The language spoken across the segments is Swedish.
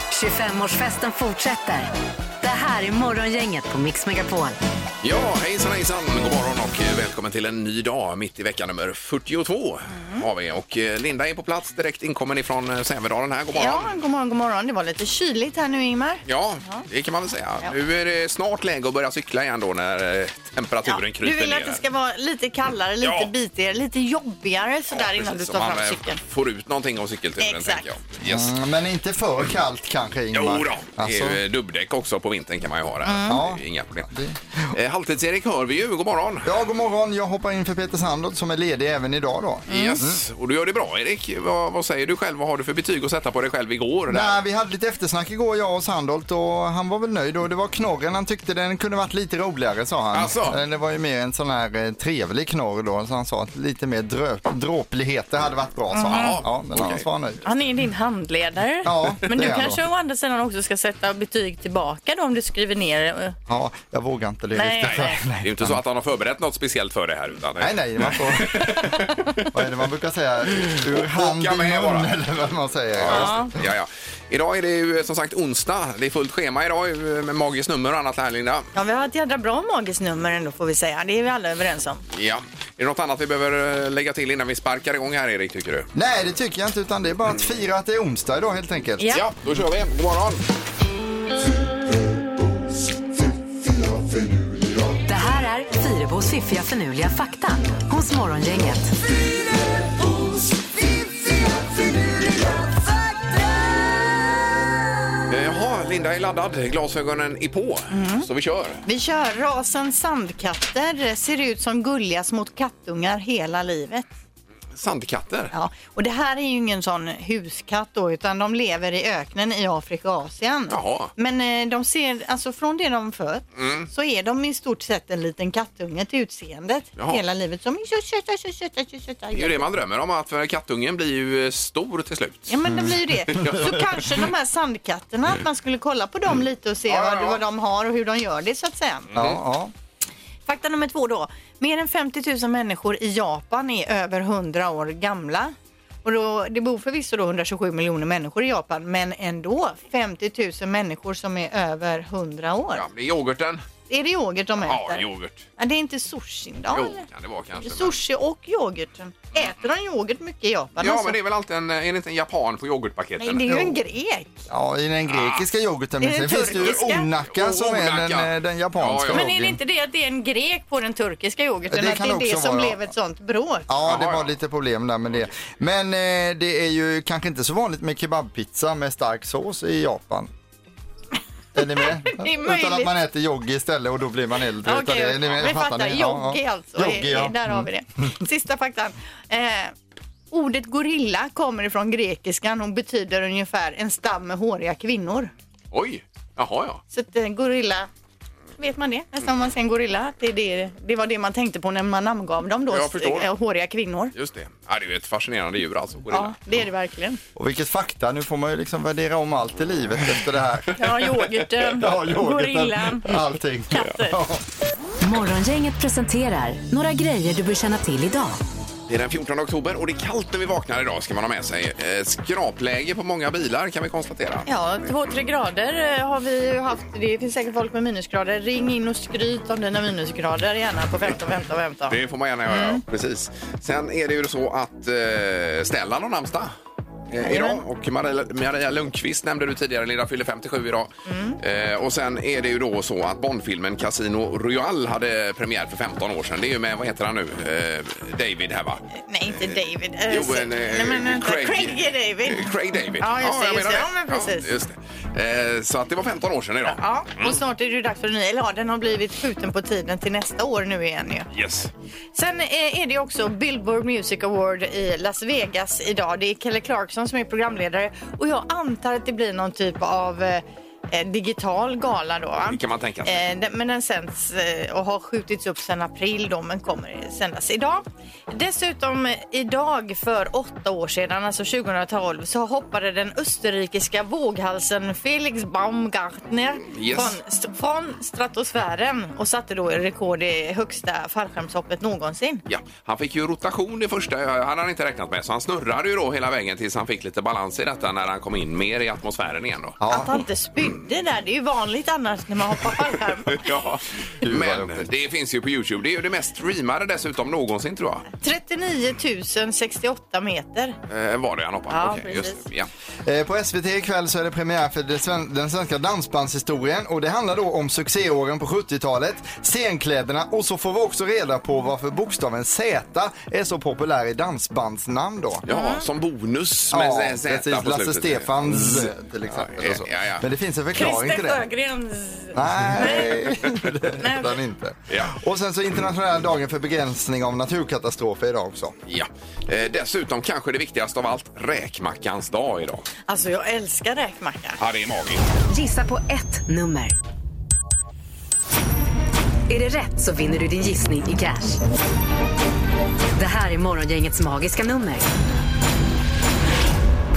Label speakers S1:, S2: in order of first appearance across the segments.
S1: 25-årsfesten fortsätter. Det här är Morgongänget på Mix Megapol.
S2: Ja, hejsan hejsan, god morgon och eh, välkommen till en ny dag mitt i vecka nummer 42
S3: Mm.
S2: har vi. Och eh, Linda är på plats direkt inkommen ifrån eh, Sävedalen här, god morgon.
S3: Ja, god morgon, god morgon. Det var lite kyligt här nu, Ingmar.
S2: Ja, det kan man väl säga.
S3: Ja.
S2: Nu är det snart läge att börja cykla igen då när eh, temperaturen
S3: du
S2: kryper
S3: vill
S2: ner.
S3: att det ska vara lite kallare, lite
S2: Ja.
S3: bitigare, lite jobbigare sådär
S2: precis,
S3: innan du
S2: så
S3: tar
S2: man,
S3: fram
S2: eh,
S3: cykeln.
S2: får ut någonting av cykelturen
S3: Exakt.
S2: tänker jag. Yes.
S4: Mm, Men inte för kallt kanske Ingmar?
S2: Jo då,
S4: Alltså, Mm.
S2: det är ju dubbdäck också på vintern kan man ju ha det.
S4: Ja.
S2: Det är Inga problem.
S4: Det-
S2: Eh, Halvtids-Erik hör vi ju, god morgon.
S4: ja, god morgon. Jag hoppar in för Peter Sandholt som är ledig även idag då.
S2: Yes,
S4: Mm.
S2: och du gör det bra Erik. Vad, vad säger du själv? Vad har du för betyg att sätta på dig själv igår? där?
S4: Nej, vi hade lite eftersnack igår jag och Sandholt och han var väl nöjd och det var knorren han tyckte den kunde varit lite roligare sa han.
S2: Alltså?
S4: Eh, Det var ju mer en sån här eh, trevlig knorr då så han sa att lite mer dröp, dråpligheter hade varit bra sa han.
S2: Mhm.
S4: Ja, men
S2: Okej.
S4: annars var han nöjd.
S5: Han är din handledare.
S4: Ja,
S5: Men
S4: det
S5: du
S4: är han
S5: kanske
S4: då.
S5: å andra sidan också ska sätta betyg tillbaka då om du skriver ner. eh,
S4: Ja, jag vågar inte det
S5: Nej,
S4: riktigt.
S5: nej.
S2: Det är ju inte så att han har förberett något speciellt för det här. Utan
S4: Nej, nej, man får... vad är det man brukar säga? Ur hand i
S2: Åka
S4: mun
S2: med bara.
S4: eller vad man säger.
S2: Ja, just det. ja, ja. Idag är det ju eh, som sagt onsdag. Det är fullt schema idag eh, med magiskt nummer och annat här Linda.
S3: Ja, vi har ett jädra bra magiskt nummer ändå får vi säga. Det är vi alla överens om.
S2: Ja. Är det något annat vi behöver eh, lägga till innan vi sparkar igång här Erik tycker du?
S4: Nej, det tycker jag inte, utan det är bara att fira att det är onsdag idag helt enkelt.
S5: Ja.
S2: då kör vi. God morgon.
S1: Det här är Fyrebos fiffiga förnuliga fakta hos Morgongänget.
S2: Eh, Jaha, Linda är laddad. Glasögonen är på.
S3: Mm.
S2: Så vi kör.
S3: Vi kör rasen sandkatter. Ser ut som gulliga små kattungar hela livet.
S2: Sandkatter.
S3: Ja, och det här är ju ingen sån huskatt då, utan de lever i öknen i Afrika och Asien.
S2: Jaha. Mm.
S3: Men eh, de ser, alltså från det de föds så är de i stort sett en liten kattunge till utseendet
S2: Jaha.
S3: hela livet. Som tjötjötjö, tjötjötjö, tjötjötjö.
S2: Det är ju det man drömmer om, att för kattungen blir ju eh, stor till slut.
S3: Ja men det blir ju det.
S2: Mm.
S3: Så kanske de här sandkatterna, att man skulle kolla på dem lite och se
S2: Ja, ja, ja.
S3: Vad, vad de har och hur de gör det så att säga.
S4: Ja, ja.
S3: Fakta nummer två då. Mer än 50 000 människor i Japan är över 100 år gamla. Och då, det bor förvisso då 127 miljoner människor i Japan, men ändå 50 000 människor som är över 100 år.
S2: Ja, det är yoghurten.
S3: Är det yoghurt de
S2: Ja,
S3: äter?
S2: yoghurt.
S3: Ja, det är inte sushin då?
S2: Jo,
S3: eller?
S2: kan det vara kanske. men-
S3: Sushi och yoghurten. Äter de yoghurt mycket i Japan?
S2: Ja,
S3: alltså?
S2: men det är väl alltid en, är det inte en japan på yoghurtpaketen?
S3: Nej, det är ju en
S4: Jo.
S3: grek.
S4: ja i
S2: Ah.
S4: den grekiska yoghurten. Men
S3: Är det
S4: sen finns det ju
S3: turkiska?
S4: onaka som är
S2: Oh, Onaka.
S4: den, eh, den
S2: Ja,
S4: japanska
S2: ja.
S5: Men är det
S4: lobbyn.
S5: inte det att det är en grek på den turkiska yoghurten?
S4: Det
S3: att
S4: kan
S3: det är det
S4: också
S3: som
S4: vara-
S3: blev ett sånt bråk.
S4: Ja, det
S2: Jaha, ja.
S4: var lite problem där med det. Men eh, det är ju kanske inte så vanligt med kebabpizza med stark sås i Japan. Är ni med?
S3: är
S4: Utan att
S3: möjligt.
S4: man äter joggi istället och då blir man äldre.
S3: Okej,
S4: utav det. Är ni med?
S3: vi fattar.
S4: ni? Ja,
S3: Jogge
S4: ja.
S3: alltså.
S4: Joggi, ja. Mm.
S3: Där har vi det. Sista faktan. Eh, ordet gorilla kommer ifrån grekiskan och betyder ungefär en stam med håriga kvinnor.
S2: Oj! Jaha, ja.
S3: Så att, eh, gorilla, vet man det? Nästan om man säger en gorilla. Det, är det, det var det man tänkte på när man namngav dem då.
S2: Jag förstår.
S3: eh, Håriga kvinnor.
S2: Just det. Ja, det är ju ett fascinerande djur alltså.
S3: Ja,
S2: Gorilla.
S3: det är det verkligen.
S4: Och vilket fakta, nu får man ju liksom värdera om allt i livet efter det här.
S5: Ja, yoghurten,
S4: Ja, yoghurten,
S5: gorillan,
S4: Allting.
S5: katter.
S1: Morgongänget presenterar några grejer du bör känna till idag.
S2: Det är den 14 oktober och det är kallt när vi vaknar idag ska man ha med sig. Eh, skrapläge på många bilar kan vi konstatera.
S3: Ja,
S5: Två, tre grader eh, har
S3: har vi ju haft, det finns säkert folk med minusgrader. Ring in och skryt om dina minusgrader gärna på 15, 15, 15.
S2: Det får man gärna göra,
S3: Mm.
S2: ja. precis. Sen är det ju så att eh, Stellan har namnsdag. Eh, idag. Och Maria, Maria Lundqvist nämnde du tidigare, Linda, fyller 57 idag.
S3: Mm.
S2: Eh, och sen är det ju då så att Bondfilmen Casino Royale hade premiär för 15 år sedan. Det är ju med, vad heter han nu, eh, David här va?
S3: Nej, inte David. Eh,
S2: Jo,
S3: så-
S2: en, eh,
S3: Nej, men vänta. Craig. är David.
S2: Eh, Craig David.
S3: Ja, just det,
S2: jag
S3: just
S2: menar
S3: det. Ja, men precis.
S2: Ja, just det. Eh, så att det var 15 år sedan idag.
S3: Ja, och snart är det ju dags för en ny. Eller ja, den har blivit skjuten på tiden till nästa år nu igen ju.
S2: Yes.
S3: Sen eh, är det ju också Billboard Music Award i Las Vegas idag. Det är Kelly Clarkson som är programledare och jag antar att det blir någon typ av eh, eh, digital gala då. va?
S2: Det kan man tänka sig.
S3: Eh, den- Men den sänds eh, och har skjutits upp sedan april då, men kommer sändas idag. Dessutom eh, idag för åtta år sedan, alltså 2012, så hoppade den österrikiska våghalsen Felix Baumgartner
S2: Yes.
S3: från, st- från stratosfären och satte då rekord i högsta fallskärmshoppet någonsin.
S2: Ja, han fick ju rotation i första, han hade inte räknat med, så han snurrade ju då hela vägen tills han fick lite balans i detta när han kom in mer i atmosfären igen då.
S3: Att han inte spydde där, det är ju vanligt annars när man hoppar fallskärm.
S2: Ja,
S4: Gud, vad
S2: men
S4: roligt.
S2: det finns ju på Youtube. Det är ju det mest streamade dessutom någonsin tror jag.
S3: 39 068 meter.
S2: Eh, var det han hoppade?
S3: Ja,
S2: Okej, just
S3: precis.
S2: det. ja.
S4: Eh, På SVT ikväll så är det premiär för det sven- den svenska dansbandshistorien och det handlar då om succéåren på 70-talet, scenkläderna och så får vi också reda på varför bokstaven Z är så populär i dansbandsnamn då.
S2: ja som bonus med ja, Z
S4: precis.
S2: på
S4: Lasse
S2: slutet.
S4: Stefans eh, till exempel.
S2: Ja,
S4: och så.
S2: ja, ja.
S4: Men det finns en förklaring till
S5: Christer
S4: det.
S5: Sjögrens...
S4: Nej, det är den inte.
S2: Ja.
S4: Och sen så internationella dagen för begränsning av naturkatastrofer idag också.
S2: Ja. Eh, dessutom kanske det viktigaste av allt, räkmackans dag idag.
S3: Alltså jag älskar räkmacka.
S2: Ja, det är magiskt.
S1: Gissa på ett nummer. Är det rätt så vinner du din gissning i cash. Det här är Morgongängets magiska nummer.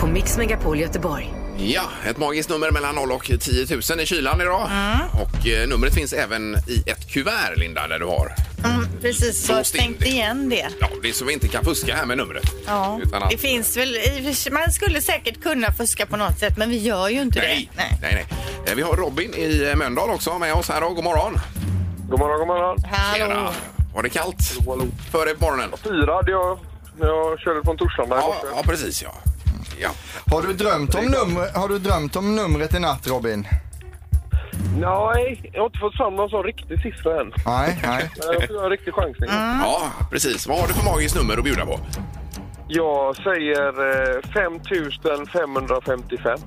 S1: På Mix Megapol Göteborg.
S2: Ja, ett magiskt nummer mellan 0 och 10 000 i kylan idag.
S3: Mm.
S2: Och eh, numret finns även i ett kuvert, Linda, där du har.
S3: Mm, precis, så jag
S2: Låst in
S3: tänkte
S2: det.
S3: igen det.
S2: Ja, det är så vi inte kan fuska här med numret.
S3: Ja,
S2: Utan att...
S3: det finns väl i och för sig- Man skulle säkert kunna fuska på något sätt, men vi gör ju inte
S2: Nej,
S3: det.
S2: nej, nej. Eh, Vi har Robin i eh, Mölndal också med oss här. då. God morgon!
S6: God morgon, god morgon.
S3: Hallå.
S2: Tjena. Var det kallt före morgonen?
S6: Fyra hade jag när jag körde från Torslanda.
S2: Ja,
S6: Ja.
S2: ja precis ja. ja.
S4: Har du drömt om, numre, har du drömt om numret i natt Robin?
S6: Nej, jag har inte fått fram någon sån riktig siffra än.
S4: Nej, nej.
S6: Men jag får göra en riktig chansning.
S3: Mm.
S2: Ja, precis. Vad har du för magiskt nummer att bjuda på?
S6: Jag säger eh, 5555.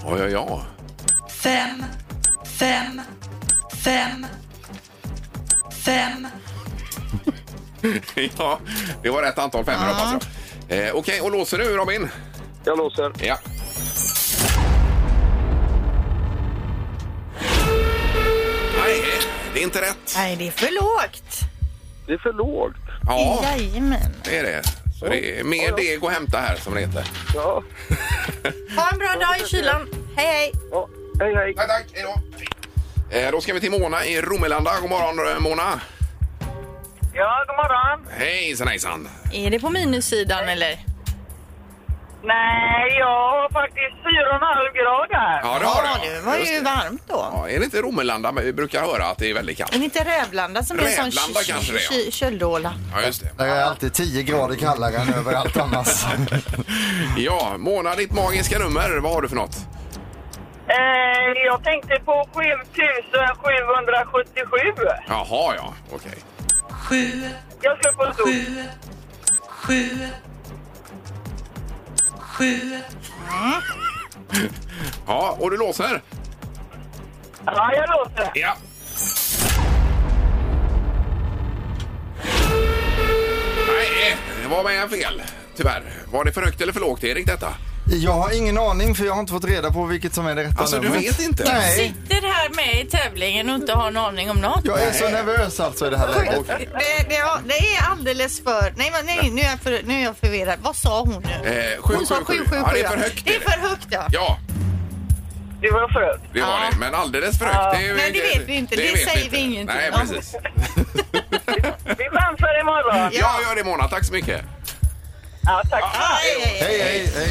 S2: Ja, ja, ja.
S7: fem, fem, fem, fem.
S2: ja det var rätt antal femmor hoppas jag. Eh, Okej, och låser du Robin?
S6: Jag låser.
S2: Ja. Nej, det är inte rätt.
S3: Nej, det är för lågt.
S6: Det är för lågt.
S2: Ja,
S3: Jajamän.
S2: det är det. Så det är mer deg att hämta här som det heter.
S6: Ja.
S3: Ha en bra dag i kylan. Hej, hej.
S6: ja. Hej, hej.
S2: Tack, tack. Hej då. Eh, Då ska vi till Mona i Romelanda. God morgon eh, Mona.
S8: Ja, god morgon.
S2: Hejsan hejsan.
S5: Är det på minussidan eller?
S8: Nej, jag har faktiskt 4,5 grader.
S2: Ja, det
S3: Ja,
S2: har du.
S3: det var
S2: Just
S3: ju
S2: det.
S3: varmt då.
S2: Ja, är det inte Romelanda men vi brukar höra att det är väldigt kallt?
S3: Men inte Rävlanda som är en sån
S2: Rävlanda
S3: ky-
S2: kanske det är, ja.
S3: ky- köldåla.
S2: Ja, just det.
S4: Det är alltid 10 grader kallare än överallt annars.
S2: Ja, Mona, ditt magiska nummer, vad har du för något?
S8: Eh, jag tänkte på 7777.
S2: Jaha, ja. Okej.
S7: Sju,
S8: Jag slår på stort.
S7: sju, sju, sju.
S2: Ja, och du låser?
S8: Ja, jag låter.
S2: Ja. Nej, det var med en fel. Tyvärr. Var det för högt eller för lågt, Erik, detta?
S4: Jag har ingen aning för jag har inte fått reda på vilket som är det rätta
S2: Alltså, du
S4: numret.
S2: vet inte?
S4: Nej,
S5: Sitter här med i tävlingen och inte har en aning om något.
S4: jag är så nervös alltså i det här läget.
S3: Det, det, ja, det är alldeles för... Nej, men nej nu, är jag för, nu är jag förvirrad. Vad sa hon nu?
S2: Eh, sju,
S3: Hon sa
S2: sju, sju.
S3: 777.
S2: Ja, det är för högt,
S3: Det
S2: är
S3: är
S2: det.
S3: för högt, ja.
S2: Ja,
S8: Det var skönt.
S2: det var det. Men alldeles för högt. är ju-
S3: Nej, det vet vi inte. Det
S2: vet
S3: säger vi ingenting
S2: Nej,
S3: om.
S2: precis.
S8: Vi chansar imorgon.
S2: Ja, gör det, Mona. Tack så mycket.
S8: Ja, tack.
S3: Aj, aj, aj.
S4: Hej, hej, hej.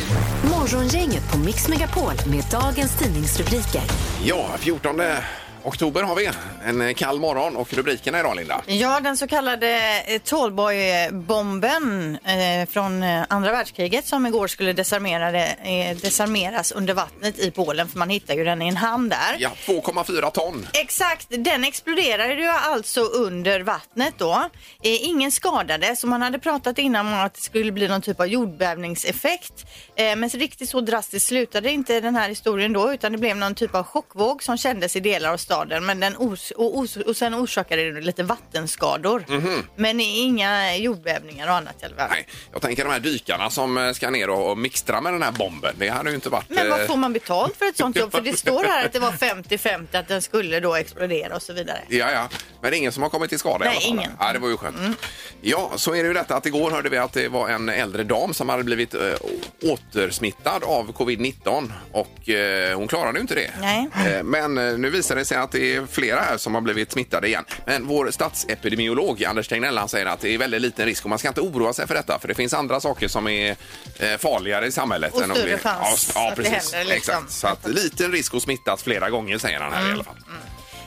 S1: Morgongänget på Mix Megapol med dagens tidningsrubriker.
S2: Ja, 14 oktober har vi. En kall morgon och rubrikerna idag, Linda.
S3: Ja, den så kallade eh, Tallboy-bomben eh, från eh, andra världskriget som igår skulle desarmera det, eh, desarmeras under vattnet i Polen, för man hittar ju den i en hamn där.
S2: Ja, 2,4 ton.
S3: Exakt, den exploderade ju alltså under vattnet då. Eh, ingen skadade, så man hade pratat innan om att det skulle bli någon typ av jordbävningseffekt. Eh, men så riktigt så drastiskt slutade inte den här historien då, utan det blev någon typ av chockvåg som kändes i delar av staden men den os- och, os- och sen orsakade det lite vattenskador. Men inga jordbävningar och annat i alla fall.
S2: Mhm. Nej, jag tänker de här dykarna som eh, ska ner och och mixtra med den här bomben. Det hade ju inte varit...
S3: Men vad
S2: eh,
S3: får man betalt för ett sånt jobb? För det står här att det var 50-50 att den skulle då explodera och så vidare.
S2: Ja, ja. Men det är ingen som har kommit till skada i
S3: Nej,
S2: alla fall.
S3: ingen.
S2: Ja, det var ju skönt. Ja, så är det ju detta att igår hörde vi att det var en äldre dam som hade blivit eh, återsmittad av covid-19 och eh, hon klarade ju inte det.
S3: Nej.
S2: Eh, Men eh, nu visar det sig att det är flera här som har blivit smittade igen. Men vår statsepidemiolog Anders Tegnell han säger att det är väldigt liten risk och man ska inte oroa sig för detta för det finns andra saker som är eh, farligare i samhället.
S3: Och
S2: än att
S3: större
S2: bli-
S3: chans
S2: Ja, ja,
S3: att det
S2: precis.
S3: händer, liksom. Mm.
S2: Exakt. Så att liten risk att smittas flera gånger säger han här i alla fall.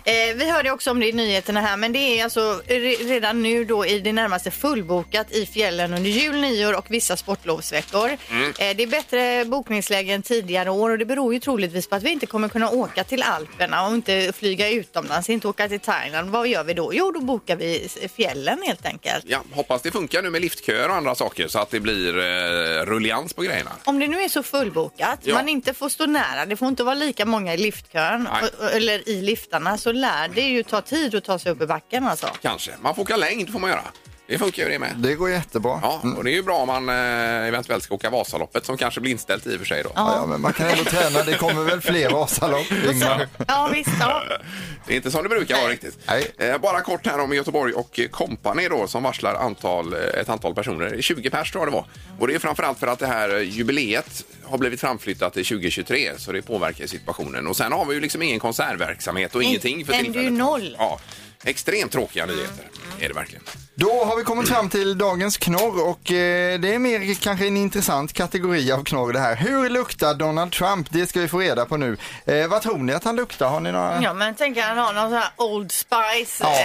S3: Eh, vi hörde också om det i nyheterna här men det är alltså re- redan nu då i det närmaste fullbokat i fjällen under jul, nyår och vissa sportlovsveckor.
S2: Mm.
S3: Eh, det är bättre bokningsläge än tidigare år och det beror ju troligtvis på att vi inte kommer kunna åka till Alperna och inte flyga utomlands, inte åka till Thailand. Vad gör vi då? Jo, då bokar vi s- fjällen helt enkelt.
S2: Ja, hoppas det funkar nu med liftköer och andra saker så att det blir eh, rullians på grejerna.
S3: Om det nu är så fullbokat,
S2: Ja.
S3: man inte får stå nära, det får inte vara lika många i liftkön
S2: Nej.
S3: och- och- eller i liftarna så lär det ju ta tid att ta sig upp i backen alltså.
S2: Kanske. Man får åka längd får man göra. Det funkar ju det med.
S4: Det går jättebra.
S2: Ja, och det är ju bra om man eh, eventuellt ska åka Vasaloppet som kanske blir inställt i och för sig då.
S4: Ja, ja, men man kan ändå träna. Det kommer väl fler Vasalopp, Ingmar?
S3: Ja visst, ja.
S2: Det är inte som det brukar vara riktigt.
S4: Nej.
S2: Eh, bara kort här om Göteborg och Company då som varslar antal, eh, ett antal personer. 20 pers tror jag det var. Och det är framförallt för att det här eh, jubileet har blivit framflyttat till 2023 så det påverkar situationen. Och sen har vi ju liksom ingen konsertverksamhet och ingenting för
S3: den är ju
S2: tillfället.
S3: noll. Mm.
S2: Ja, extremt tråkiga nyheter är det verkligen.
S4: Då har vi kommit fram till dagens knorr och eh, det är mer kanske en intressant kategori av knorr det här. Hur luktar Donald Trump? Det ska vi få reda på nu. Eh, vad tror ni att han luktar? Har ni några?
S3: Ja, men tänk att han har någon sån här Old Spice
S4: Ja.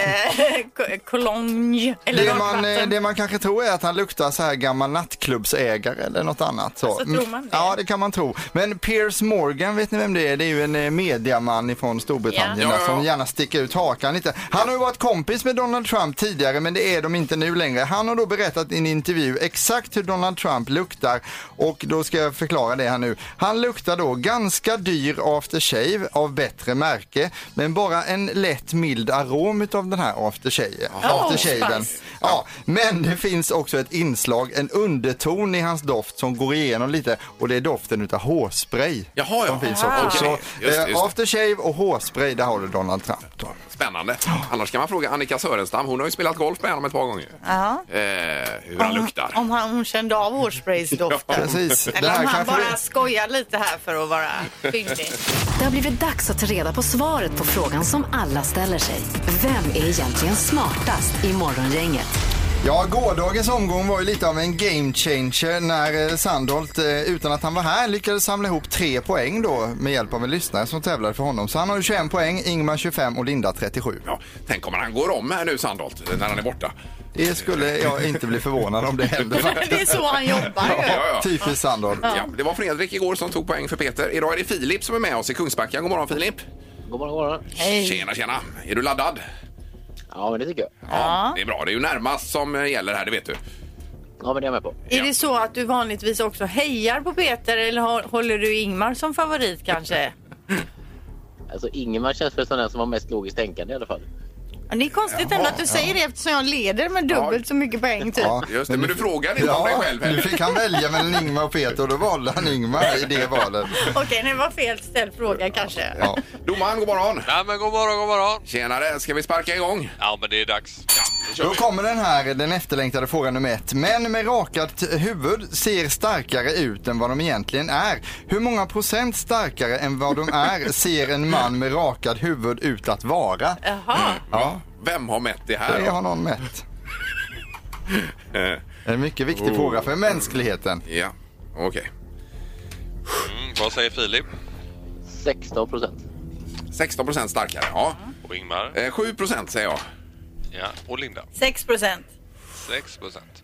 S3: eh, ko- cologne eller
S4: Det
S3: något
S4: man, eh,
S3: vatten.
S4: det man kanske tror är att han luktar så här gammal nattklubbsägare eller något annat. Så. Mm.
S5: Alltså, tror man det?
S4: Ja, det kan man tro. Men Piers Morgan, vet ni vem det är? Det är ju en eh, mediaman ifrån
S2: Ja.
S4: Storbritannien där
S2: Ja, ja, ja.
S4: som gärna sticker ut hakan lite. Han har ju varit kompis med Donald Trump tidigare men det är de inte nu längre. Han har då berättat i en intervju exakt hur Donald Trump luktar och då ska jag förklara det här nu. Han luktar då ganska dyr aftershave av bättre märke men bara en lätt mild arom utav den här aftershave. aftershaven.
S5: spice.
S4: Ja, men det finns också ett inslag, en underton i hans doft som går igenom lite och det är doften utav hårspray.
S2: Jaha, ja.
S4: Som finns också.
S2: Ah.
S4: Så,
S2: Okej, just det,
S4: eh,
S2: just det.
S4: Aftershave och hårspray, där har du Donald Trump. Då.
S2: Spännande. Annars kan man fråga Annika Sörenstam. Hon har ju spelat golf med honom ett par gånger.
S3: Ja.
S2: Eh, hur han luktar.
S3: Om han, hon kände av hårspraysdoften.
S4: Precis. Det
S3: Eller
S4: här
S3: om han
S4: kanske
S3: bara
S4: vi-
S3: skojar lite här för att vara fyndig.
S1: Det har blivit dags att ta reda på svaret på frågan som alla ställer sig. Vem är egentligen smartast i Morgongänget?
S4: Ja, gårdagens omgång var ju lite av en game changer när eh, Sandholt, eh, utan att han var här, lyckades samla ihop tre poäng då med hjälp av en lyssnare som tävlade för honom. Så han har ju 21 poäng, Ingmar 25 och Linda 37.
S2: Ja, tänk om han går om här nu Sandholt när han är borta.
S4: Det skulle jag inte bli förvånad om det händer faktiskt.
S3: Det är så han jobbar ju.
S2: Ja, ja.
S4: Typiskt Sandholt.
S2: Ja, det var Fredrik igår som tog poäng för Peter. Idag är det Filip som är med oss i Kungsbacka. God morgon Filip!
S9: God morgon, god morgon.
S2: Tjena, tjena! Är du laddad?
S9: Ja, men det tycker jag.
S2: Ja, Det är bra. Det är ju närmast som eh, gäller här, det vet du.
S9: Ja, men det är jag med på.
S5: Är det så att du vanligtvis också hejar på Peter eller har- håller du Ingmar som favorit kanske?
S9: Alltså, Ingemar känns väl som den som var mest logiskt tänkande i alla fall.
S3: Ja, Det är konstigt ändå att du säger det eftersom jag leder med dubbelt så mycket poäng typ.
S4: Ja.
S2: Just det, men du frågade inte om dig
S4: Ja,
S2: själv
S4: nu
S2: heller.
S4: fick han välja mellan Ingmar och Peter och då valde han Ingmar i det valet.
S3: Okej, det var fel ställd fråga kanske.
S4: Ja.
S2: Domaren, god morgon!
S10: Ja, men god morgon, god morgon.
S2: Tjenare, ska vi sparka igång?
S10: Ja, men det är dags.
S4: Då kommer den här, den efterlängtade frågan nummer ett. Män med rakat huvud ser starkare ut än vad de egentligen är. Hur många procent starkare än vad de är ser en man med rakad huvud ut att vara?
S5: Jaha,
S4: Ja,
S2: Vem har mätt det här?
S4: det
S2: då? Eh,
S4: har någon mätt. En mycket viktig
S2: Oh.
S4: fråga för mänskligheten.
S2: Ja, okej.
S10: Mm, vad säger Filip?
S9: 16 procent.
S2: 16 procent starkare, ja.
S10: Och Ingmar?
S2: Eh, 7 procent säger jag.
S10: Ja, och Linda?
S5: 6 procent.
S10: 6 procent.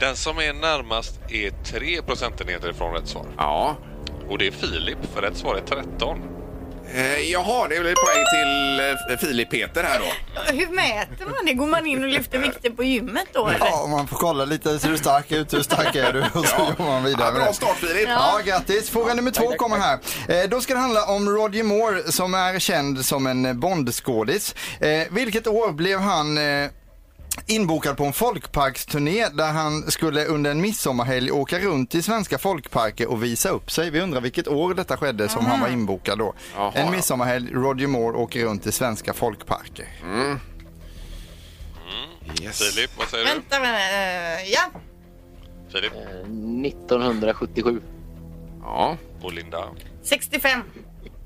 S10: Den som är närmast är 3 procentenheter ifrån rätt svar.
S2: Ja,
S10: Och det är Filip, för rätt svar är 13.
S2: Eh, jaha, det blir poäng till eh, Filip Peter här då.
S3: Hur mäter man det? Går man in och lyfter vikter på gymmet då eller?
S4: Ja, man får kolla lite. Ser du stark ut? Hur stark är du? Och så jobbar man vidare med
S2: bra
S4: det.
S2: start, Filip.
S4: Ja, grattis. Fråga nummer två kommer här. Eh, då ska det handla om Roger Moore som är känd som en eh, Bondskådis. Eh, vilket år blev han eh, inbokad på en folkparksturné där han skulle under en midsommarhelg åka runt i svenska folkparker och visa upp sig. Vi undrar vilket år detta skedde som han var inbokad då.
S2: Jaha, ja.
S4: en midsommarhelg, Roger Moore åker runt i svenska folkparker.
S2: Mm. Yes.
S10: Filip, vad säger du?
S3: Vänta, men, eh, ja.
S10: Filip
S9: Eh, 1977.
S2: Ja,
S10: och Linda.
S3: 65.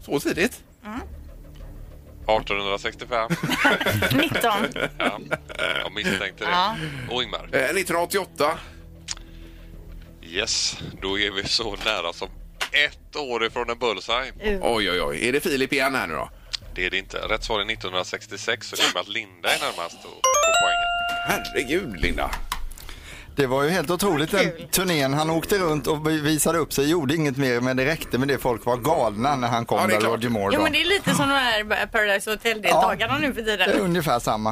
S2: så tidigt.
S10: 1865.
S3: 19.
S10: Ja, jag misstänkte det.
S3: Ja.
S10: Och Ingmar.
S2: Eh, 1988.
S10: Yes, då är vi så nära som ett år ifrån en bullseye.
S3: Mm.
S2: Oj, oj, oj. Är det Filip igen här nu då?
S10: Det är det inte. Rätt svar är 1966 så det innebär att Linda är närmast och får poängen.
S2: Herregud, Linda.
S4: Det var ju helt otroligt den turnén. Han åkte runt och visade upp sig, gjorde inget mer men det räckte med det. Folk var galna när han kom
S2: Ja, det är
S4: där,
S2: klart.
S4: Roger Moore.
S5: Jo,
S4: då.
S5: men det är lite som de här eh, Paradise Hotel-deltagarna nu för
S4: Det är
S5: tiden.
S4: ungefär samma.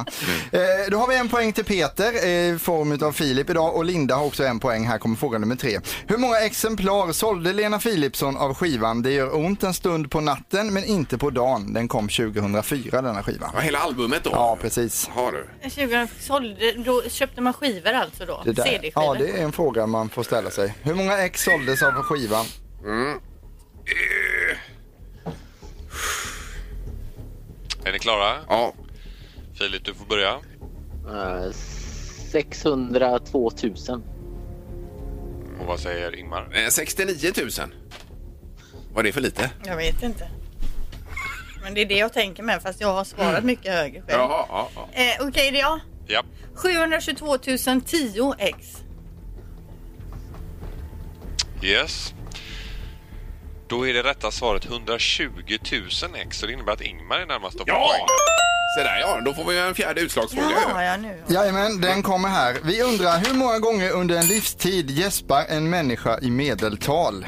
S4: Eh, då har vi en poäng till Peter eh, i form av Filip idag och Linda har också en poäng. Här kommer fråga nummer tre. Hur många exemplar sålde Lena Philipsson av skivan Det gör ont en stund på natten men inte på dagen? Den kom 2004 denna skiva.
S2: Ja, hela albumet då?
S4: Ja, precis.
S2: Har du?
S5: 20 sålde, då köpte man skivor alltså då?
S4: Det där.
S5: CD-skivor?
S4: Ja, det är en fråga man får ställa sig. Hur många ex såldes av skivan?
S2: Eh,
S10: Är ni klara?
S2: Ja.
S10: Filip, du får börja.
S9: Eh, 602 000.
S10: Och vad säger Ingmar?
S2: Eh, 69 000. Var det för lite?
S5: Jag vet inte. Men det är det jag tänker med fast jag har
S4: Mm.
S5: svarat mycket högre själv.
S2: Jaha, ja, ja.
S5: Eh, Okej, det är jag.
S10: Ja,
S5: 722 010 ex.
S10: yes. Då är det rätta svaret 120 000 x så det innebär att Ingmar är närmast och får
S2: Ja!
S10: poäng.
S2: Se där ja, då får vi ju en fjärde utslagsfråga.
S5: Jaha, ja nu.
S4: Jajamän, den kommer här. Vi undrar hur många gånger under en livstid gäspar en människa i medeltal?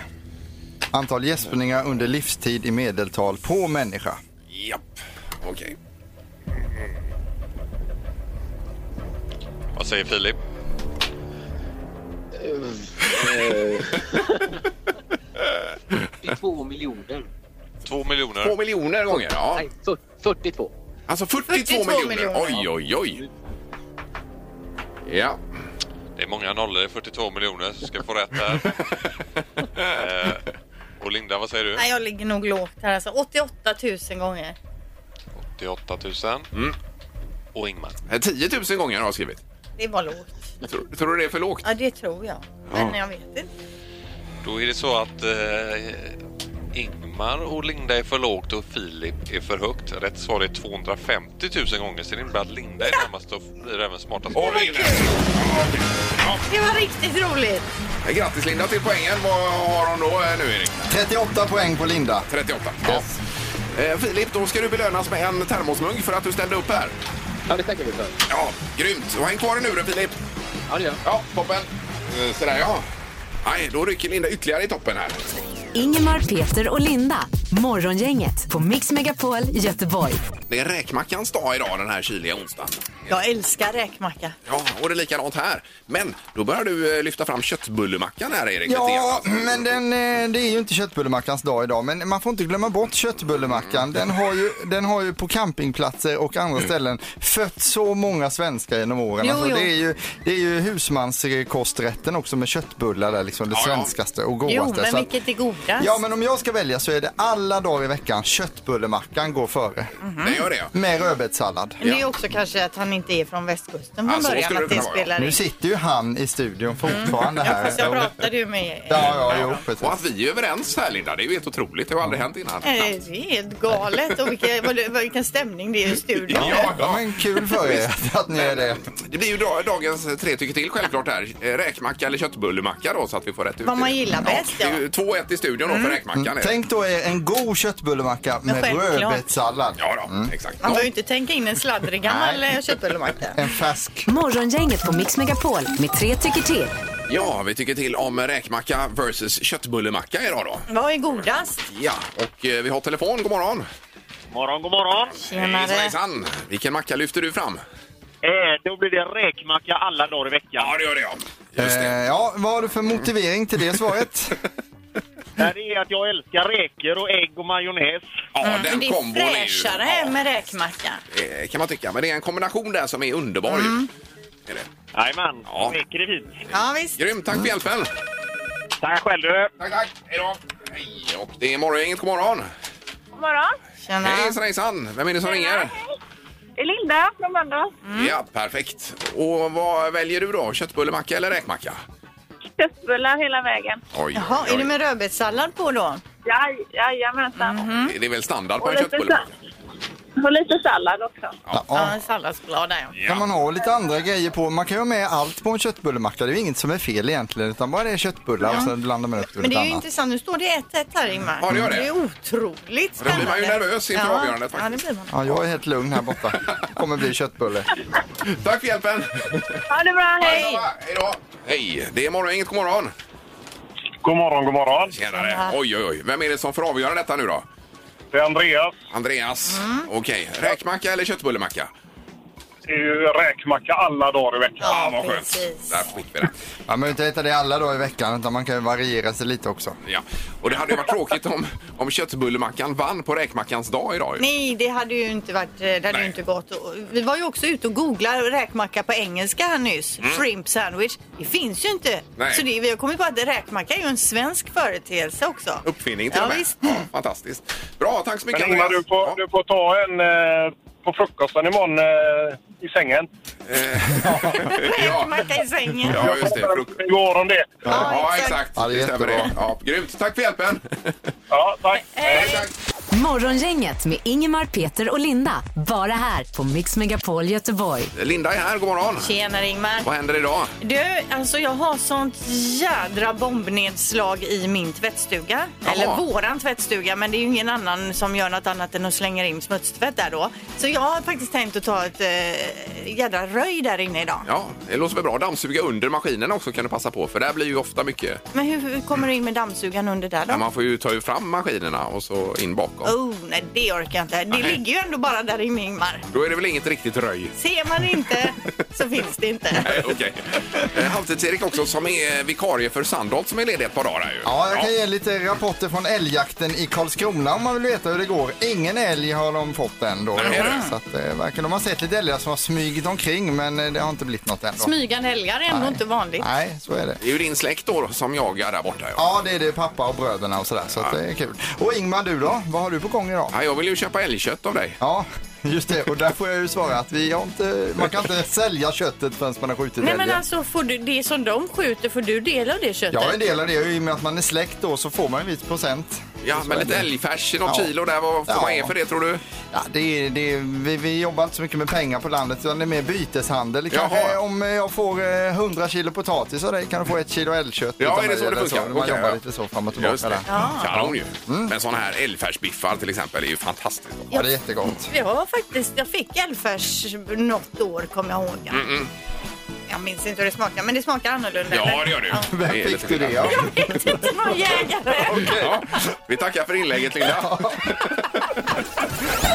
S4: Antal gäspningar under livstid i medeltal på människa.
S2: Japp, okej.
S10: Vad säger Filip?
S9: Eh, 42 miljoner.
S10: Två
S2: Två
S10: miljoner.
S2: miljoner gånger, ja.
S9: Nej, fyr- 42.
S2: Alltså 42,
S3: 42
S2: miljoner.
S3: miljoner.
S2: Oj, oj, oj. Ja.
S10: Det är många nollor i 42 miljoner så ska få rätt här. eh, och Linda, vad säger du?
S5: Nej, jag ligger nog lågt här alltså. 88 000 gånger.
S10: 88 000.
S2: Mm.
S10: Och Ingmar.
S2: Eh, 10 000 gånger har jag skrivit.
S5: Det var lågt.
S2: Tror, tror du det är för lågt?
S5: Ja, det tror jag. Men jag vet inte.
S10: Då är det så att eh, Ingmar och Linda är för lågt och Filip är för högt. Rätt svar är 250 000 gånger så det innebär att Linda är närmast och blir även smartast.
S2: Åh, vad kul!
S5: Det var riktigt roligt.
S2: Eh, Grattis Linda till poängen. Vad har hon då eh, nu Erik?
S4: 38 poäng på Linda.
S2: 38. Ja. Eh, Filip, då ska du belönas med en termosmugg för att du ställde upp här.
S9: Ja, det tackar vi för.
S2: Ja, grymt. Och häng kvar i luren Filip.
S9: Ja, det gör
S2: Ja, toppen. Eh, Sådär ja. Nej, då rycker Linda ytterligare i toppen här.
S1: Ingemar, Peter och Linda. Morgongänget på Mix Megapol Göteborg.
S2: Det är räkmackans dag idag den här kyliga onsdagen.
S5: Jag älskar räkmacka.
S2: Ja, och det är likadant här. Men då börjar du eh, lyfta fram köttbullemackan här Erik. lite grann,
S4: Ja,
S2: alltså.
S4: men den, eh, det är ju inte köttbullemackans dag idag, men man får inte glömma bort
S2: Mm.
S4: köttbullemackan. Den har ju, den har ju på campingplatser och andra ställen fött så många svenskar genom åren.
S5: Jo,
S4: Alltså,
S5: jo.
S4: det, är ju, det är ju husmanskosträtten också med köttbullar, där, liksom det
S2: Ja, ja.
S4: svenskaste och godaste.
S5: Jo, men
S4: Så att-
S5: vilket är godast.
S4: Ja, men om jag ska välja så är det alla dagar i veckan köttbullemackan går före.
S3: Mhm.
S2: Den gör det ja.
S4: Med rödbetssallad.
S3: Men Det är också kanske att han inte är från västkusten från
S2: Ja, så
S3: början.
S2: skulle det
S3: Att det
S2: kunna vara, ja.
S3: spelar
S4: Nu
S3: in.
S4: sitter ju han i studion
S3: Mm.
S4: fortfarande
S5: Ja,
S4: här.
S5: fast jag pratade ju med...
S4: Ja, ja, jo, precis.
S2: Och att vi är överens här Linda, det är ju helt otroligt. Det har aldrig hänt innan.
S3: Mm.
S5: Nej,
S3: Eh,
S5: Det är helt galet och vilken, vad det- vilken stämning det är i studion.
S2: Ja,
S4: Ja,
S2: ja.
S4: men kul för er att ni är det.
S2: Det blir ju dag- dagens eh, tre tycker till självklart här. Eh, Räkmacka eller köttbullemacka då så att vi får rätt ut.
S5: Vad
S2: i
S5: man
S2: det.
S5: gillar bäst,
S2: Det är ju 2-1 i studion då för räkmackan. är det.
S4: Mm. Tänk då er en god köttbullemacka med
S5: självklart.
S4: rödbetssallad.
S2: Ja då, exakt.
S5: Man behöver ju inte tänka in en sladdrig gammal
S4: Nej.
S5: eh, köttbullemacka.
S4: En färsk.
S1: Morgongänget på Mix Megapol med tre tycker till.
S2: Ja, vi tycker till om räkmacka versus köttbullemacka idag då.
S3: Vad är godast?
S2: Ja, och eh, vi har telefon. God morgon!
S11: morgon, god morgon.
S2: Hejsan, hejsan! Vilken macka lyfter du fram?
S11: Eh, då blir det räkmacka alla dagar i veckan. Ja,
S2: det gör det, ja.
S4: Eh, ja, vad har du för motivering till det svaret?
S11: Det är att jag älskar räkor och ägg och majonnäs.
S2: Ja,
S3: Men det är fräschare med räkmacka.
S2: Eh, kan man tycka. Men det är en kombination där som är underbar ju.
S11: Jajamän,
S2: ja.
S11: räkor är fint.
S3: Ja, visst.
S2: Grymt, tack för hjälpen!
S11: Tack själv du!
S2: Tack, tack! Hej då! Hej, och det är morgongänget, god morgon!
S12: God morgon.
S3: Tjena.
S2: Hejsan, hejsan! Vem är det som ringer?
S12: Det är Linda från Mölndal.
S3: Mm.
S2: Ja, perfekt. Och vad väljer du då? Köttbullemacka eller räkmacka?
S12: Köttbullar hela vägen.
S2: Oj,
S3: Jaha,
S2: oj,
S3: är det med rödbetssallad på då?
S12: Jaj, jajamensan.
S2: oj. Det är väl standard på
S12: Och
S2: en
S12: lite,
S2: köttbullemacka?
S12: sa- och lite sallad också.
S4: Ja.
S3: Ja, en salladsblad där ja.
S4: Kan man ha lite andra grejer på? Man kan ju ha med allt på en köttbullemacka. Det är ju inget som är fel egentligen utan bara det är köttbullar
S3: Ja.
S4: och sen blandar man upp
S3: Men det är ju
S4: annat.
S3: intressant. Nu står det 1-1 här Ingmar.
S4: Ja, det gör det.
S3: är otroligt
S4: Och då
S3: spännande.
S4: blir man ju nervös inför avgörandet
S3: Ja, det blir man.
S4: Ja, jag är helt lugn här borta. Kommer bli köttbulle.
S2: Tack för hjälpen!
S12: Ha det bra, hej!
S2: Hej då! Hej, det är morgongänget, god morgon!
S11: God morgon, god morgon!
S2: Tjenare! Oj, oj, oj. Vem är det som får avgöra detta nu då?
S11: Det är Andreas.
S2: Andreas.
S3: Mm.
S2: Okej, räkmacka eller köttbullemacka?
S11: Det är ju räkmacka alla dagar i veckan.
S2: Ja, vad skönt. Där fick vi det.
S4: Ja, men inte äta det alla dagar i veckan utan man kan ju variera sig lite också.
S2: Ja. Och det hade ju varit tråkigt om, om köttbullemackan vann på räkmackans dag idag. ju.
S3: Nej, det hade ju inte varit, det hade ju inte gått. Och Vi var ju också ute och googlade räkmacka på engelska här nyss.
S4: Mm.
S3: Shrimp sandwich. Det finns ju inte.
S2: Nej.
S3: Så det, vi har kommit på att räkmacka är ju en svensk företeelse också.
S2: Uppfinning till
S3: Ja,
S2: och med.
S3: visst.
S2: Fantastiskt. Bra, tack så mycket
S11: Men Ingmar, du får, du får ta en eh, på frukosten imorgon eh, i sängen.
S3: Räkmacka i sängen.
S2: Ja, just det. Fruk-
S11: Igår om det.
S2: Ja, exakt.
S4: Ja, det är
S2: det stämmer
S4: jättebra.
S2: det. Ja, grymt. Tack för hjälpen.
S11: Ja, tack.
S1: Morgongänget med Ingemar, Peter och Linda. Bara här på Mix Megapol Göteborg.
S2: Linda är här. God morgon.
S3: Tjenare Ingmar.
S2: Vad händer idag?
S3: Du, alltså jag har sånt jädra bombnedslag i min tvättstuga.
S2: Jaha.
S3: Eller våran tvättstuga, men det är ju ingen annan som gör något annat än att slänga in smutstvätt där då. Så jag har faktiskt tänkt att ta ett eh, jädra röj där inne idag.
S2: Ja, det låter väl bra. Dammsuga under maskinen också kan du passa på för där blir ju ofta mycket.
S3: Men hur, hur kommer du in med dammsugaren under där då?
S2: Ja, man får ju ta ju fram maskinerna och så in bakom.
S3: Oh, nej det orkar jag inte. Det
S2: Nej.
S3: ligger ju ändå bara där inne Ingmar.
S2: Då är det väl inget riktigt röj?
S3: Ser man inte så finns det inte.
S2: Nej, okej. Okay. Halvtids-Erik också som är vikarie för Sandholt som är ledig ett par dagar. här Ju.
S4: Ja, jag kan ge lite rapporter från älgjakten i Karlskrona om man vill veta hur det går. Ingen älg har de fått än då.
S2: Nej, det.
S4: Så att, eh, verkar de har sett lite älgar som har smugit omkring men eh, det har inte blivit något än. då.
S3: Smygande älgar är ändå
S4: Nej.
S3: inte vanligt.
S4: Nej, så är det.
S2: Det är ju din släkt då som jagar där borta. Ja.
S4: Ja, det är det. Pappa och bröderna och sådär. Så att det är kul. Och Ingmar, du då? Vad har du på gång idag?
S2: Ja, jag vill ju köpa älgkött av dig.
S4: Ja, just det. Och där får jag ju svara att vi har inte, man kan inte sälja köttet förrän man har skjutit
S5: Nej men
S4: älgen.
S5: alltså får du, det som de skjuter, får du del av det köttet?
S4: Jag är en del av det. I och med att man är släkt då så får man en viss procent.
S2: Ja,
S4: Så
S2: men
S4: är
S2: lite
S4: det.
S2: älgfärs i något
S4: Ja.
S2: kilo där. Vad får
S4: Ja.
S2: man ge för det tror du?
S4: Ja, det är, det är, vi, vi jobbar inte så mycket med pengar på landet utan det är mer byteshandel. Kanske
S2: Jaha.
S4: om eh, jag får eh, 100 kilo potatis av dig kan du få ett kilo älgkött.
S2: Ja,
S4: utan
S2: är det så
S4: eller
S2: det funkar?
S4: Man
S2: Okej,
S4: jobbar
S2: ja.
S4: lite så fram och tillbaka
S2: Just
S4: där.
S2: det. Kanon ju. Men sådana här älgfärsbiffar till exempel är ju fantastiskt. gott.
S4: Ja, det är jättegott.
S3: Jag var faktiskt, jag fick älgfärs något år kommer jag ihåg.
S4: Mm,
S3: Jag minns inte hur det smakar, men det smakar annorlunda.
S2: Ja,
S3: eller?
S2: det gör du.
S3: Ja.
S2: Vem
S4: fick du det av?
S3: Jag vet inte, det var jägare.
S2: Ja, vi tackar för inlägget, Linda.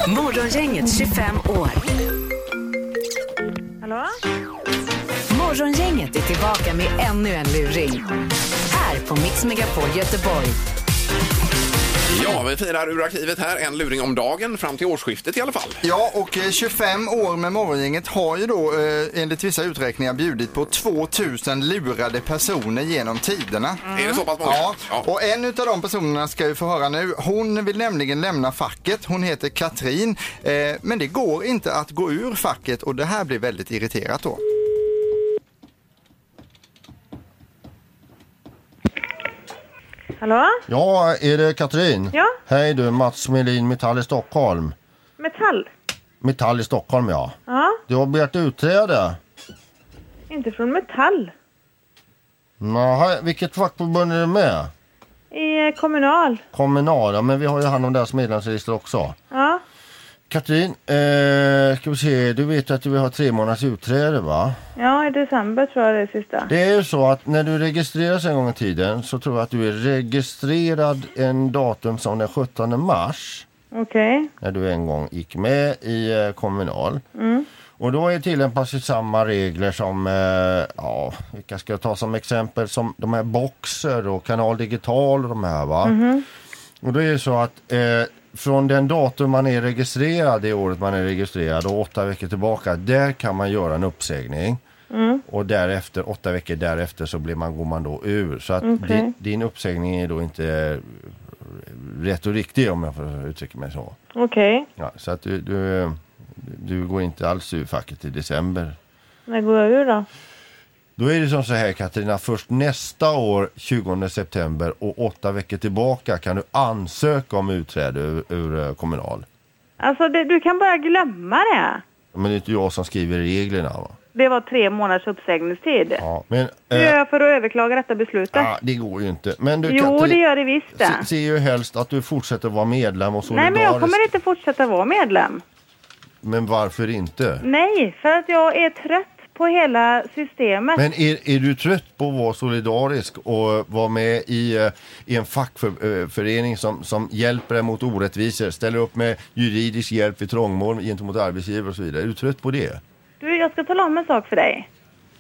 S1: Morgongänget 25 år.
S12: Hallå?
S1: Morgongänget är tillbaka med ännu en luring. Här på Mix Megapol Göteborg.
S2: Ja, vi firar ur arkivet här. En luring om dagen fram till årsskiftet i alla fall.
S4: Ja, och eh, 25 år med Morgongänget har ju då eh, enligt vissa uträkningar bjudit på 2000 lurade personer genom tiderna.
S2: Är det så pass många?
S4: Mm. Ja,
S2: Ja.
S4: och en av de personerna ska vi få höra nu. Hon vill nämligen lämna facket. Hon heter Katrin, eh, men det går inte att gå ur facket och det här blir väldigt irriterat då.
S12: Hallå?
S13: Ja, är det Katrin?
S12: Ja.
S13: Hej du, Mats Melin, Metall i Stockholm.
S12: Metall?
S13: Metall i Stockholm, ja.
S12: Ja,
S13: Du har begärt utträde.
S12: inte från Metall.
S13: Naha, vilket fackförbund är du med?
S12: I eh, Kommunal.
S13: Kommunal, ja, men vi har ju hand om deras medlemsregister också.
S12: Ja,
S4: Katrin, eh, ska vi se, du vet att vi har tre månaders utträde va?
S12: Ja, i december tror jag det är sista.
S4: Det är ju så att när du registreras en gång i tiden så tror jag att du är registrerad en datum som den 17 mars.
S12: Okej.
S4: När du en gång gick med i eh, Kommunal.
S12: Mm.
S4: Och då är tillämpas ju samma regler som, eh, ja, vilka ska jag ta som exempel, som de här Boxer och Kanal Digital och de här va?
S12: Mhm.
S4: Och det är ju så att eh, från den datum man är registrerad, det året man är registrerad och åtta veckor tillbaka, där kan man göra en uppsägning.
S12: Mm.
S4: Och därefter, åtta veckor därefter så blir man, går man då ur. Så att
S12: Okej.
S4: din, din uppsägning är då inte eh, rätt och riktig om jag får uttrycka mig så.
S12: Okej.
S4: Ja, så att du, du, eh, du går inte alls ur facket i december.
S12: När går jag ur då?
S4: Då är det som så här Katarina, först nästa år 20 september och åtta veckor tillbaka kan du ansöka om utträde ur, ur eh, Kommunal.
S12: Alltså, det, du kan bara glömma det.
S4: Men det är inte jag som skriver reglerna va?
S12: Det var tre månaders uppsägningstid.
S4: Ja, men
S12: Hur
S4: eh,
S12: gör jag för att överklaga detta beslutet?
S4: ah, det går ju inte. Men du
S12: jo,
S4: Katrin,
S12: det gör det visst det.
S4: se- ser ju helst att du fortsätter vara medlem och
S12: Nej,
S4: solidarisk.
S12: men jag kommer inte fortsätta vara medlem.
S4: Men varför inte?
S12: Nej, för att jag är trött på hela systemet.
S4: Men är, är du trött på att vara solidarisk och vara med i, eh, i en fackförening som, som hjälper dig mot orättvisor, ställer upp med juridisk hjälp vid trångmål gentemot arbetsgivare och så vidare? Är du trött på det?
S12: Du, jag ska tala om en sak för dig.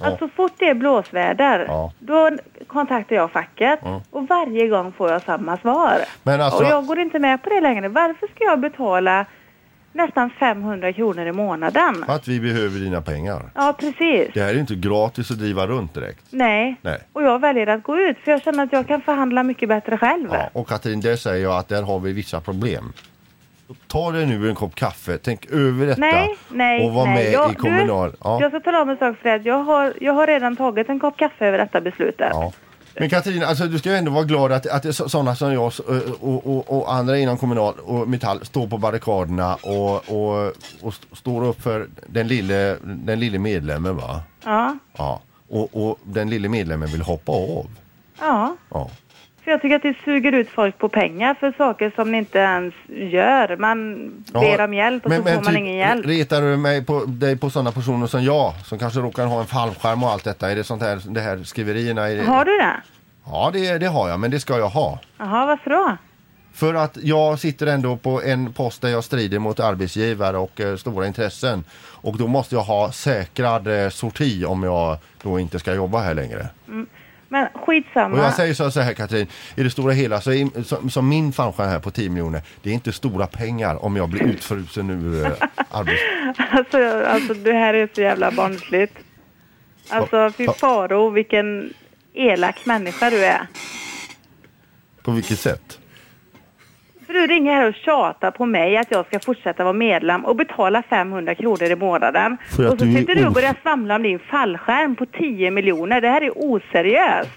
S4: Ja.
S12: Att så fort det är blåsväder,
S4: Ja.
S12: då kontaktar jag facket
S4: Ja.
S12: och varje gång får jag samma svar.
S4: Men alltså-
S12: Och jag går inte med på det längre. Varför ska jag betala nästan 500 kronor i månaden?
S4: Att vi behöver dina pengar.
S12: Ja, precis.
S4: Det här är inte gratis att driva runt direkt.
S12: Nej.
S4: Nej.
S12: Och jag väljer att gå ut för jag känner att jag kan förhandla mycket bättre själv.
S4: Ja, och Katrin, där säger jag att där har vi vissa problem. Ta dig nu en kopp kaffe, tänk över detta
S12: Nej, nej,
S4: och var
S12: nej.
S4: med
S12: jag,
S4: i Kommunal.
S12: Du,
S4: Ja.
S12: Jag ska tala om en sak för dig. Jag har, jag har redan tagit en kopp kaffe över detta beslutet.
S4: Ja. Men Katrin, alltså, du ska ju ändå vara glad att, att det är så- sådana som jag eh, och, och, och andra inom Kommunal och Metall står på barrikaderna och, och, och st- står upp för den lille, den lille medlemmen va?
S12: Ja,
S4: Ja. Och, och den lille medlemmen vill hoppa av.
S12: ja.
S4: Ja.
S12: För jag tycker att det suger ut folk på pengar för saker som ni inte ens gör. Man
S4: Ja,
S12: ber om hjälp och så får man
S4: typ,
S12: ingen hjälp.
S4: Retar du mig på, dig på sådana personer som jag som kanske råkar ha en fallskärm och allt detta? Är det sånt här, det här skriverierna? Är det...
S12: Har du det?
S4: Ja, det, det har jag, men det ska jag ha.
S12: Jaha, varför då?
S4: För att jag sitter ändå på en post där jag strider mot arbetsgivare och eh, stora intressen. Och då måste jag ha säkrad eh, sorti om jag då inte ska jobba här längre.
S12: Mm. Men skitsamma.
S4: Och jag säger så så här Katrin, i det stora hela så är, som, som min fallskärm här på 10 miljoner, det är inte stora pengar om jag blir utfrusen ur eh, arbets...
S12: alltså, alltså, det här är så jävla barnsligt. Alltså, fy faro vilken elak människa du är.
S4: På vilket sätt?
S12: För du ringer här och tjatar på mig att jag ska fortsätta vara medlem och betala 500 kronor i månaden.
S4: För att
S12: och så
S4: du är
S12: sitter du och
S4: os-
S12: börjar svamla om din fallskärm på 10 miljoner. Det här är oseriöst.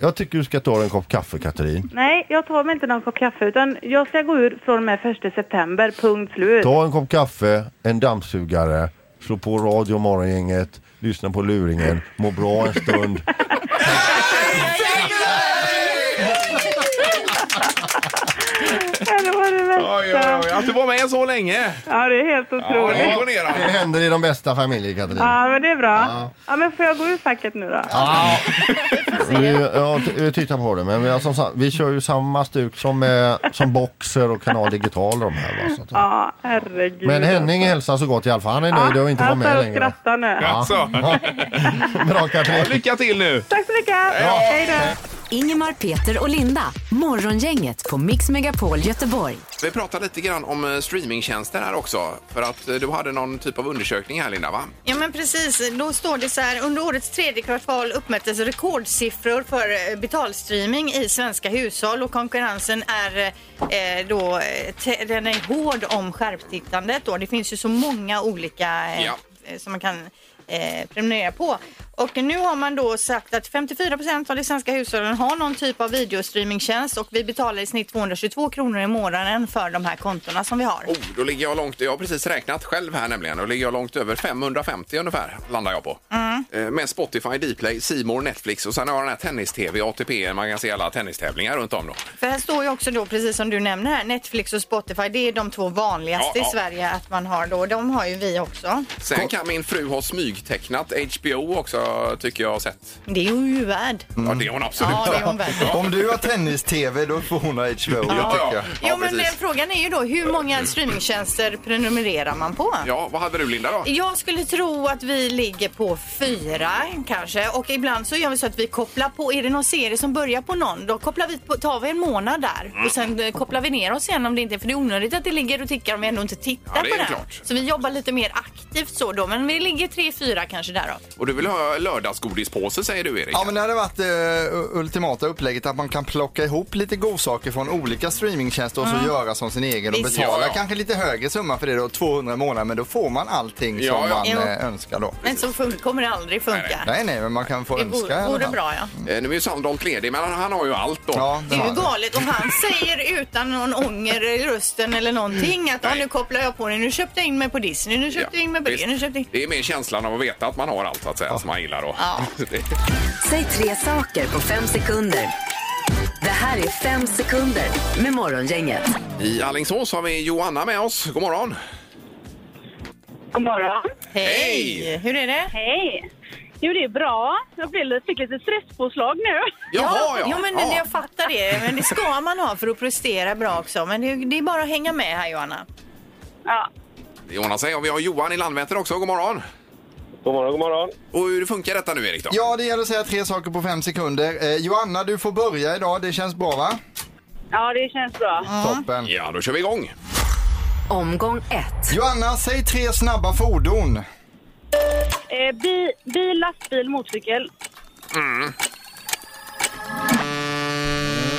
S4: Jag tycker du ska ta en kopp kaffe Katrin.
S12: Nej, jag tar mig inte någon kopp kaffe utan jag ska gå ur från och med 1 september, punkt slut.
S4: Ta en kopp kaffe, en dammsugare, slå på radio morgongänget, lyssna på luringen, må bra en stund.
S12: det var det värsta.
S2: Oj, oj, oj. Att du var med så länge.
S12: Ja, det är helt otroligt.
S2: Ja, imponerande.
S4: Det händer i de bästa familjer Katrin.
S12: Ja, men det är bra.
S4: Ja.
S12: Ja, men får jag gå ur facket nu då?
S4: Ja. Vi, ja, t- vi tittar på det, men vi, har som sagt, vi kör ju samma stuk som, eh, som Boxer och Kanal Digital och de här. Va? Så att-
S12: Ja, herregud.
S4: Men Henning hälsar så gott i alla fall. Han är nöjd och inte var med
S14: Alltså,
S12: Han står och
S4: längre.
S12: skrattar nu.
S2: Alltså.
S4: Ja. Bra Katrin.
S2: Lycka till nu.
S12: Tack så mycket. Hej då.
S1: Ingemar, Peter och Linda. Morgongänget på Mix Megapol Göteborg.
S2: Vi pratar lite grann om eh, streamingtjänster här också. För att eh, du hade någon typ av undersökning här Linda va?
S3: Ja men precis, då står det så här. Under årets tredje kvartal uppmättes rekordsiffror för eh, betalstreaming i svenska hushåll och konkurrensen är eh, då, eh, te- den är hård om skärptittandet då. Det finns ju så många olika eh,
S15: Ja.
S3: eh, som man kan eh, prenumerera på. Och Och nu har man då sagt att 54 procent av de svenska hushållen har någon typ av videostreamingtjänst och vi betalar i snitt 222 kronor i månaden för de här kontona som vi har.
S2: Oh, då ligger jag långt, jag har precis räknat själv här nämligen, då ligger jag långt över 550 ungefär landar jag på.
S3: Mm.
S2: Eh, Med Spotify, Dplay, C More, Netflix och sen har jag den här tennis-tv, ATP, man kan se alla tennistävlingar runt om då.
S3: För här står ju också då, precis som du nämner här, Netflix och Spotify, det är de två vanligaste
S2: Ja, ja.
S3: i Sverige att man har då. De har ju vi också.
S2: Sen kan min fru ha smygtecknat HBO också tycker jag har sett.
S3: Det är ju värd.
S2: Ja, det är hon absolut.
S3: Mm. Ja, det är hon värd.
S4: Om du har tennis-tv då får hon ha HBO,
S2: Ja,
S4: tycker jag.
S2: ja.
S3: Jo, men eh, frågan är ju då hur många streamingtjänster prenumererar man på?
S2: Ja, vad hade du Linda då?
S3: Jag skulle tro att vi ligger på fyra kanske och ibland så gör vi så att vi kopplar på, är det någon serie som börjar på någon då kopplar vi på, tar vi en månad där och sen eh, kopplar vi ner oss igen om det inte, för det är onödigt att det ligger och tickar om vi ändå inte tittar
S2: Ja, det är
S3: på den.
S2: klart.
S3: Så vi jobbar lite mer aktivt så då, men vi ligger tre, fyra kanske där då.
S2: Och du vill ha lördagsgodispåse säger du Erik?
S4: Ja men det hade varit eh, ultimata upplägget att man kan plocka ihop lite godsaker från olika streamingtjänster och så
S2: Mm.
S4: göra som sin egen och
S2: Visst.
S4: betala
S2: Ja, ja.
S4: kanske lite högre summa för det då, 200 i månaden, men då får man allting
S2: Ja,
S4: som
S2: ja.
S4: man
S3: Jo.
S4: eh, önskar då.
S3: Men så fun- kommer det aldrig funka.
S4: Nej, nej, men man kan få
S3: Det
S4: önska. i
S3: vore,
S4: alla
S3: vore
S4: fall. Mm.
S3: bra ja.
S2: Eh, Nu är ju Sandholt ledig, men han, han har ju allt då. Ja,
S3: Det är ju galet och han säger utan någon ånger i rösten eller någonting att "Ja, nu kopplar jag på det, nu köpte jag in mig på Disney, nu köpte jag in mig på det, nu köpte jag in
S2: Det är mer känslan av att veta att man har allt så att säga, som man gillar då.
S3: Ja.
S1: Säg tre saker på fem sekunder. Det här är fem sekunder med Morgongänget.
S2: I Alingsås har vi Johanna med oss. God morgon!
S14: God morgon.
S2: Hej!
S3: Hur är det?
S14: Hej! Jo, det är bra. Jag blev lite- fick lite stresspåslag nu.
S3: Jo, men jag fattar det. Men det ska man ha för att prestera bra också. Men det, det är bara att hänga med här, Johanna.
S2: Det ordnar sig. Och vi har Johan i Landvetter också. God morgon! God morgon, god morgon! Och hur funkar detta nu, Erik? Då?
S4: Ja, det gäller att säga tre saker på fem sekunder. Eh, Joanna, du får börja idag. Det känns bra, va?
S14: Ja, det känns bra.
S4: Toppen.
S2: Ja, då kör vi igång.
S1: Omgång ett.
S4: Joanna, säg tre snabba fordon.
S14: Eh, bi, bil, lastbil, motorcykel.
S2: Mm.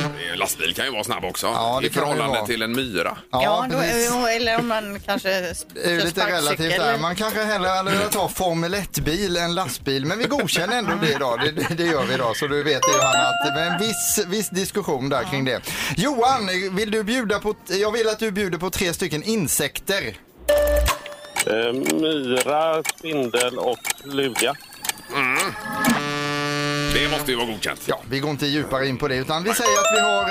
S2: Eh, Lastbil kan ju vara snabb också, i
S4: kan det
S2: förhållande
S4: vara.
S2: till en myra.
S3: då, eller om man kanske...
S4: Det är ju lite relativt där. Man kanske hellre hade velat ha Formel 1-bil än lastbil, men vi godkänner ändå det idag. Det, det, det gör vi idag, så du vet det Johanna, att det är en viss, viss diskussion där kring det. Johan, vill du bjuda på, jag vill att du bjuder på tre stycken insekter.
S11: Eh, myra, spindel och luga.
S2: Det måste ju vara godkänt.
S4: Ja, vi går inte djupare in på det, utan vi säger att vi har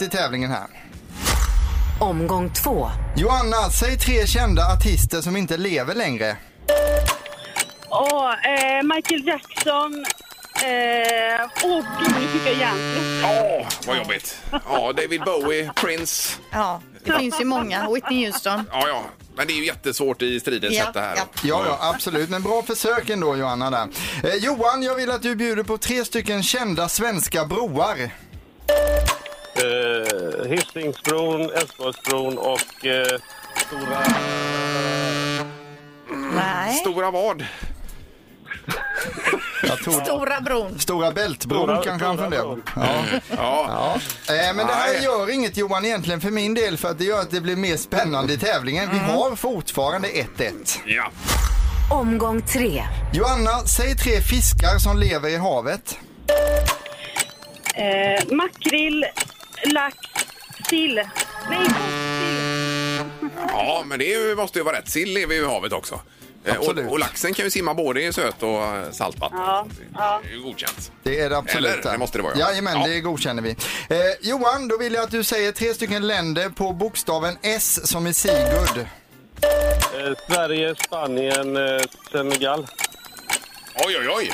S4: 1-1 i tävlingen här.
S1: Omgång två.
S4: Johanna, säg tre kända artister som inte lever längre.
S14: Åh, eh, Michael Jackson. Eh, åh, gud, nu fick jag hjärnsläpp.
S2: Åh, vad jobbigt. Ja, David Bowie, Prince.
S3: Ja, det finns ju många. Whitney Houston.
S2: Ja, ja. Men det är ju jättesvårt i stridens
S3: Ja,
S2: hetta här.
S3: ja.
S4: Ja, ja, absolut. Men bra försök ändå, Johanna. Där. Eh, Johan, jag vill att du bjuder på tre stycken kända svenska broar.
S11: Eh, Hisingsbron, Älvsborgsbron och eh, Stora...
S3: Nej.
S2: Stora vad?
S4: Jag tror-
S3: Stora bron.
S4: Stora Bältbron
S3: Stora-
S4: kanske han
S3: Stora
S4: funderar på. Ja.
S2: Ja.
S4: Eh, men det här
S2: Nej.
S4: gör inget Johan egentligen för min del för att det gör att det blir mer spännande i tävlingen. Vi har fortfarande 1-1.
S2: Ja.
S1: Omgång tre.
S4: Johanna, säg tre fiskar som lever i havet.
S14: Eh, makrill, lax, sill. Nej,
S2: Ja, men det är ju- måste ju vara rätt. Sill lever ju i havet också. Eh, Och, och laxen kan ju simma både i söt och eh, saltvatten.
S14: Ja, ja.
S2: Det är ju godkänt.
S4: Det är det absolut.
S2: Eller? Det måste det vara, ja.
S4: ja. Jajamän, det godkänner vi. Eh, Johan, då vill jag att du säger tre stycken länder på bokstaven S som i Sigurd.
S11: Eh, Sverige, Spanien, eh, Senegal.
S2: Oj, oj, oj!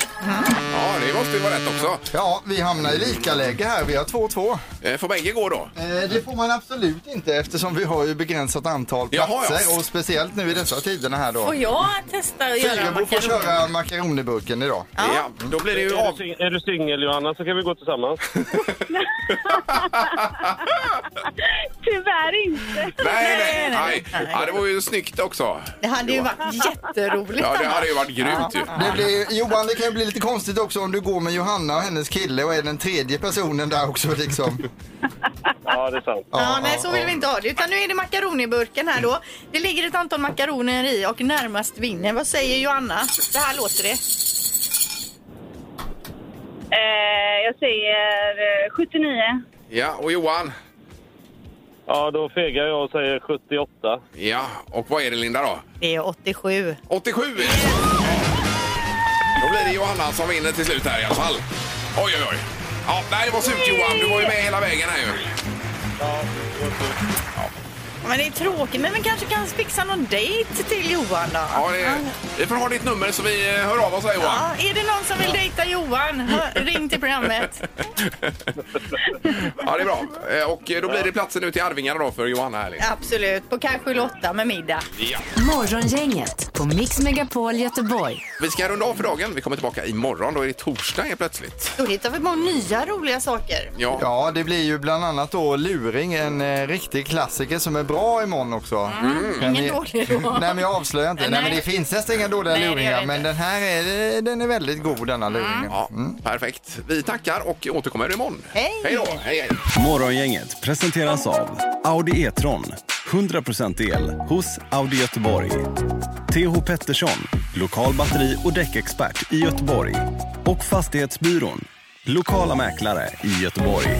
S2: Ja, det måste ju vara rätt också.
S4: Ja, vi hamnar i lika läge här. Vi har 2-2.
S2: Eh, Får bägge gå då?
S4: Eh, Det får man absolut inte eftersom vi har ju begränsat antal
S2: Jaha,
S4: platser
S2: ja.
S4: och speciellt nu i dessa tiderna här då.
S5: Får jag testa att göra
S4: Fyrebo får
S5: makaroner?
S4: köra makaronerburken idag.
S2: Ja, då blir det ju
S11: Är du, sing- är du singel, Johanna, så kan vi gå tillsammans.
S14: tyvärr inte.
S2: Nej, nej, nej. Ja, det var ju snyggt också.
S3: Det hade ju varit jätteroligt
S2: Ja, det hade ju varit grymt ju.
S4: Det blir, Johan, det kan ju bli lite konstigt också om du går med Johanna och hennes kille och är den tredje personen där också liksom.
S11: Ja, det är sant.
S3: Ja, nej, så vill vi inte ha det. Utan nu är det makaroniburken här då. Det ligger ett antal makaroner i och närmast vinner. Vad säger Joanna? Så här låter det.
S16: Eh, jag säger eh, 79.
S2: Ja, och Johan?
S11: Ja, då fegar jag och säger 78.
S2: Ja, och vad är det Linda då?
S3: Det är 87.
S2: 87 är det. Då blir det Johanna som vinner till slut här i alla fall. Oj, oj, oj. Ja, nej, det var surt Johan. Du var ju med hela vägen här ju.
S3: Men det är tråkigt, men vi kanske kan fixa någon dejt till Johan då?
S2: Ja, det, vi får ha ditt nummer så vi eh, hör av oss här Johan.
S3: Ja, är det någon som vill dejta Johan? Hör- Ring till programmet.
S2: Ja, det är bra. Eh, Och eh, då blir det platsen nu till Arvingarna då för Johanna här. Linda.
S3: Absolut, på kanske Lotta med middag.
S2: Ja.
S1: Morgongänget på Mix Megapol Göteborg.
S2: Vi ska runda av för dagen. Vi kommer tillbaka imorgon. Då är det torsdag helt plötsligt.
S3: Då hittar vi på nya roliga saker.
S2: Ja.
S4: det blir ju bland annat då luring, en eh, riktig klassiker som är bra imorgon också. Mm. Men
S3: ingen
S4: i-
S3: dålig då.
S4: Nej men jag avslöjar inte. Nej, men det finns nästan inga dåliga
S2: Nej, det gör det
S4: luringar men den här är, den är väldigt god denna luringen.
S2: Ja, perfekt. Vi tackar och återkommer imorgon.
S3: Hej!
S2: Hej då! Hej, hej.
S17: Morgongänget presenteras av Audi E-tron. 100% el hos Audi Göteborg. TH Pettersson, lokal batteri och däckexpert i Göteborg. Och Fastighetsbyrån, lokala mäklare i Göteborg.